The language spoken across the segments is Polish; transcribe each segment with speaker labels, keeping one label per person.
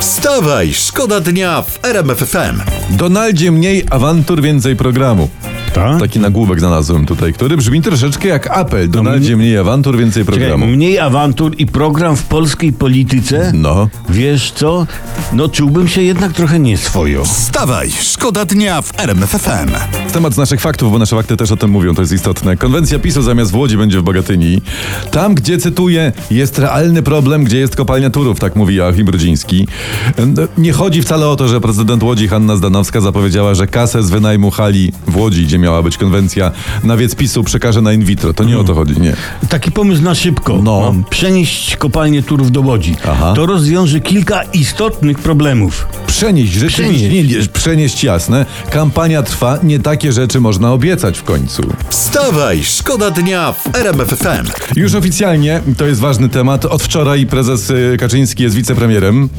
Speaker 1: Wstawaj, szkoda dnia w RMFFM.
Speaker 2: Donaldzie mniej awantur, więcej programu.
Speaker 3: Ta?
Speaker 2: Taki nagłówek znalazłem tutaj, który brzmi troszeczkę jak apel. Donaldzie mniej awantur, więcej
Speaker 3: Czekaj,
Speaker 2: programu.
Speaker 3: mniej awantur i program w polskiej polityce?
Speaker 2: No.
Speaker 3: Wiesz co? No czułbym się jednak trochę nieswojo.
Speaker 1: Wstawaj, szkoda dnia w RMFFM.
Speaker 2: Temat z naszych faktów, bo nasze fakty też o tym mówią, to jest istotne. Konwencja PiSu zamiast w Łodzi będzie w Bogatyni. Tam, gdzie, cytuję, jest realny problem, gdzie jest kopalnia Turów, tak mówi Joachim Brudziński. No, Nie chodzi wcale o to, że prezydent Łodzi Hanna Zdanowska zapowiedziała, że kasę z wynajmu hali w Łodzi, gdzie miała być konwencja, na wiec PiSu przekaże na in vitro. To nie o to chodzi, nie.
Speaker 3: Taki pomysł na szybko.
Speaker 2: No.
Speaker 3: Mam przenieść kopalnię Turów do Łodzi.
Speaker 2: Aha.
Speaker 3: To rozwiąże kilka istotnych problemów.
Speaker 2: Przenieść, rzeczywiście,
Speaker 3: Przenieść.
Speaker 2: nie, przenieść jasne. Kampania trwa, nie takie rzeczy można obiecać w końcu.
Speaker 1: Wstawaj, szkoda dnia w RMFFM.
Speaker 2: Już oficjalnie, to jest ważny temat, od wczoraj prezes y, Kaczyński jest wicepremierem.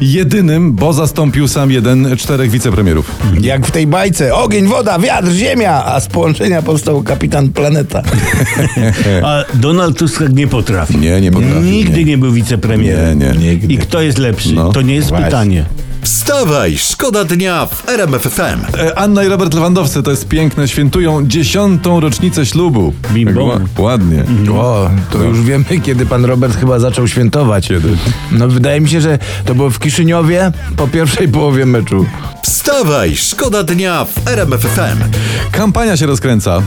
Speaker 2: Jedynym, bo zastąpił sam jeden czterech wicepremierów.
Speaker 4: Jak w tej bajce. Ogień, woda, wiatr, ziemia, a z połączenia powstał kapitan planeta.
Speaker 3: A Donald Tusk tak nie potrafi.
Speaker 2: Nie, nie potrafi,
Speaker 3: Nigdy
Speaker 2: nie.
Speaker 3: nie, był wicepremierem.
Speaker 2: Nie, nie. Nigdy.
Speaker 3: I kto jest lepszy?
Speaker 2: No.
Speaker 3: To nie jest
Speaker 4: Właśnie.
Speaker 3: pytanie.
Speaker 1: Wstawaj, szkoda dnia w RMFFM.
Speaker 2: E, Anna i Robert Lewandowscy, to jest piękne, świętują dziesiątą rocznicę ślubu.
Speaker 3: Bim
Speaker 2: Tak
Speaker 3: bom.
Speaker 2: ła- Ładnie.
Speaker 4: O, to już wiemy, kiedy pan Robert chyba zaczął świętować. No. Kiedy? No wydaje mi się, że to było w Kiszyniowie po pierwszej połowie meczu.
Speaker 1: Wstawaj, szkoda dnia w RMFFM.
Speaker 2: Kampania się rozkręca.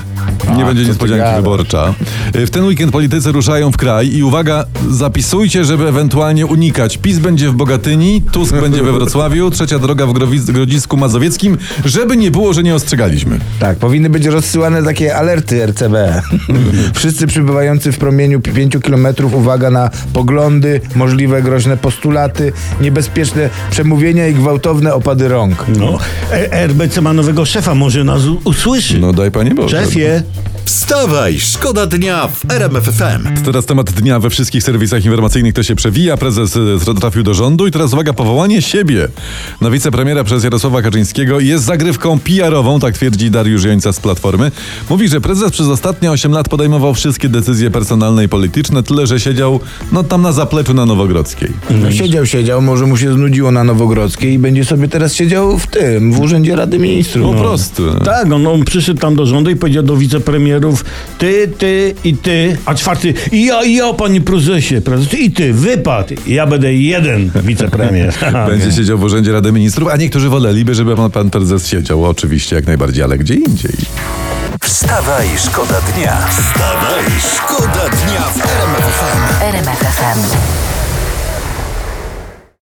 Speaker 2: Nie
Speaker 4: A,
Speaker 2: będzie
Speaker 4: co ty
Speaker 2: niespodzianki
Speaker 4: gadasz?
Speaker 2: wyborcza. Y, W ten weekend politycy ruszają w kraj i uwaga, zapisujcie, żeby ewentualnie unikać. PiS będzie w Bogatyni, Tusk będzie we Wrocławiu, trzecia droga w Growic- Grodzisku Mazowieckim, żeby nie było, że nie ostrzegaliśmy.
Speaker 4: Tak, powinny być rozsyłane takie alerty RCB. Wszyscy przybywający w promieniu 5 km uwaga na poglądy, możliwe groźne postulaty, niebezpieczne przemówienia i gwałtowne opady rąk.
Speaker 3: No. E- RBC ma nowego szefa, może nas u- usłyszy.
Speaker 2: No daj panie Boże.
Speaker 3: Szefie.
Speaker 1: Wstawaj, szkoda dnia w RMFFM.
Speaker 2: Teraz temat dnia we wszystkich serwisach informacyjnych to się przewija. Prezes y, trafił do rządu i teraz uwaga, powołanie siebie na wicepremiera przez Jarosława Kaczyńskiego jest zagrywką PR-ową, tak twierdzi Dariusz Jońca z Platformy. Mówi, że prezes przez ostatnie 8 lat podejmował wszystkie decyzje personalne i polityczne, tyle że siedział no tam na zapleczu na Nowogrodzkiej.
Speaker 4: No, siedział, siedział, może mu się znudziło na Nowogrodzkiej i będzie sobie teraz siedział w tym, w Urzędzie Rady Ministrów.
Speaker 2: Po prostu.
Speaker 3: Tak, on, on przyszedł tam do rządu i powiedział do wicepremierów ty, ty i ty, a czwarty i ja, i ja panie prezesie, prezes i ty, wypad, ja będę jeden wicepremier.
Speaker 2: Będzie siedział w Urzędzie Rady Ministrów, a niektórzy woleliby, żeby pan, pan prezes siedział. Oczywiście, jak najbardziej, ale gdzie indziej.
Speaker 1: Wstawaj, szkoda dnia. Wstawaj, szkoda dnia w RMFFM.
Speaker 5: RMFFM.